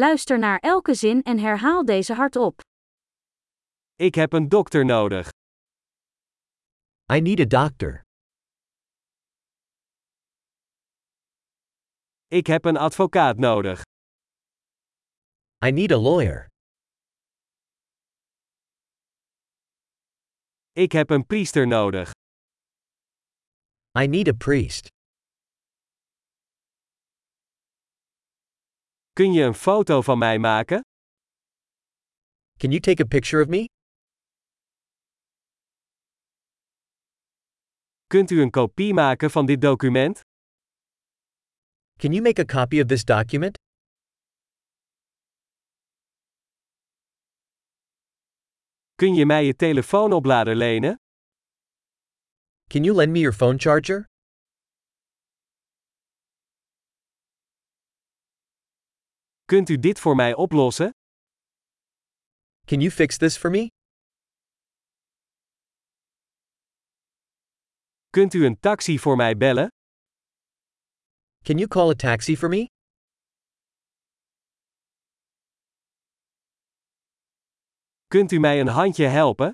Luister naar elke zin en herhaal deze hardop. Ik heb een dokter nodig. I need a doctor. Ik heb een advocaat nodig. I need a lawyer. Ik heb een priester nodig. I need a priest. Kun je een foto van mij maken? Can you take a picture of me? Kunt u een kopie maken van dit document? Can you make a copy of this document? Kun je mij je telefoonoplader lenen? Can you lend me your phone charger? Kunt u dit voor mij oplossen? Can you fix this for me? Kunt u een taxi voor mij bellen? Can you call a taxi for me? Kunt u mij een handje helpen?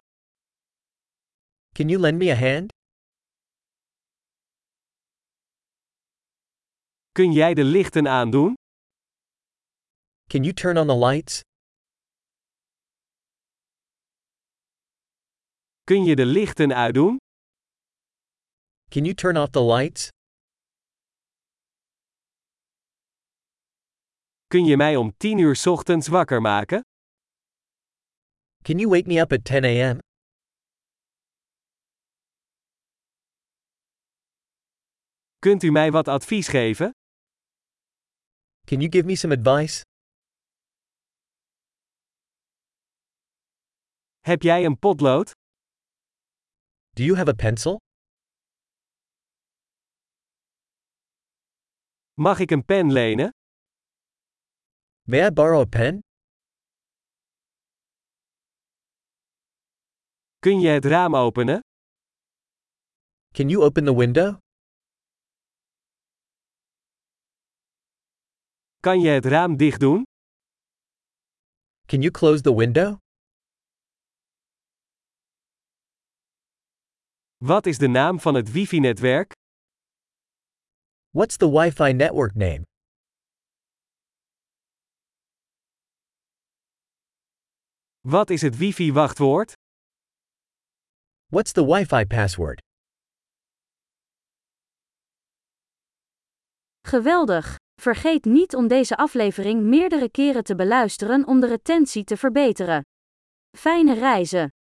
Can you lend me a hand? Kun jij de lichten aandoen? Can you turn on the lights? Kun je de lichten uitdoen? Can you turn off the lights? Kun je mij om 10 uur 's ochtends wakker maken? Can you wake me up at 10 a.m.? Kunt u mij wat advies geven? Can you give me some advice? Heb jij een potlood? Do you have a pencil? Mag ik een pen lenen? May I borrow a pen? Kun je het raam openen? Can you open the window? Kan je het raam dicht doen? Can you close the window? Wat is de naam van het wifi-netwerk? What's the Wi Fi network name? Wat is het wifi-wachtwoord? What's the Wi Fi password? Geweldig! Vergeet niet om deze aflevering meerdere keren te beluisteren om de retentie te verbeteren. Fijne reizen!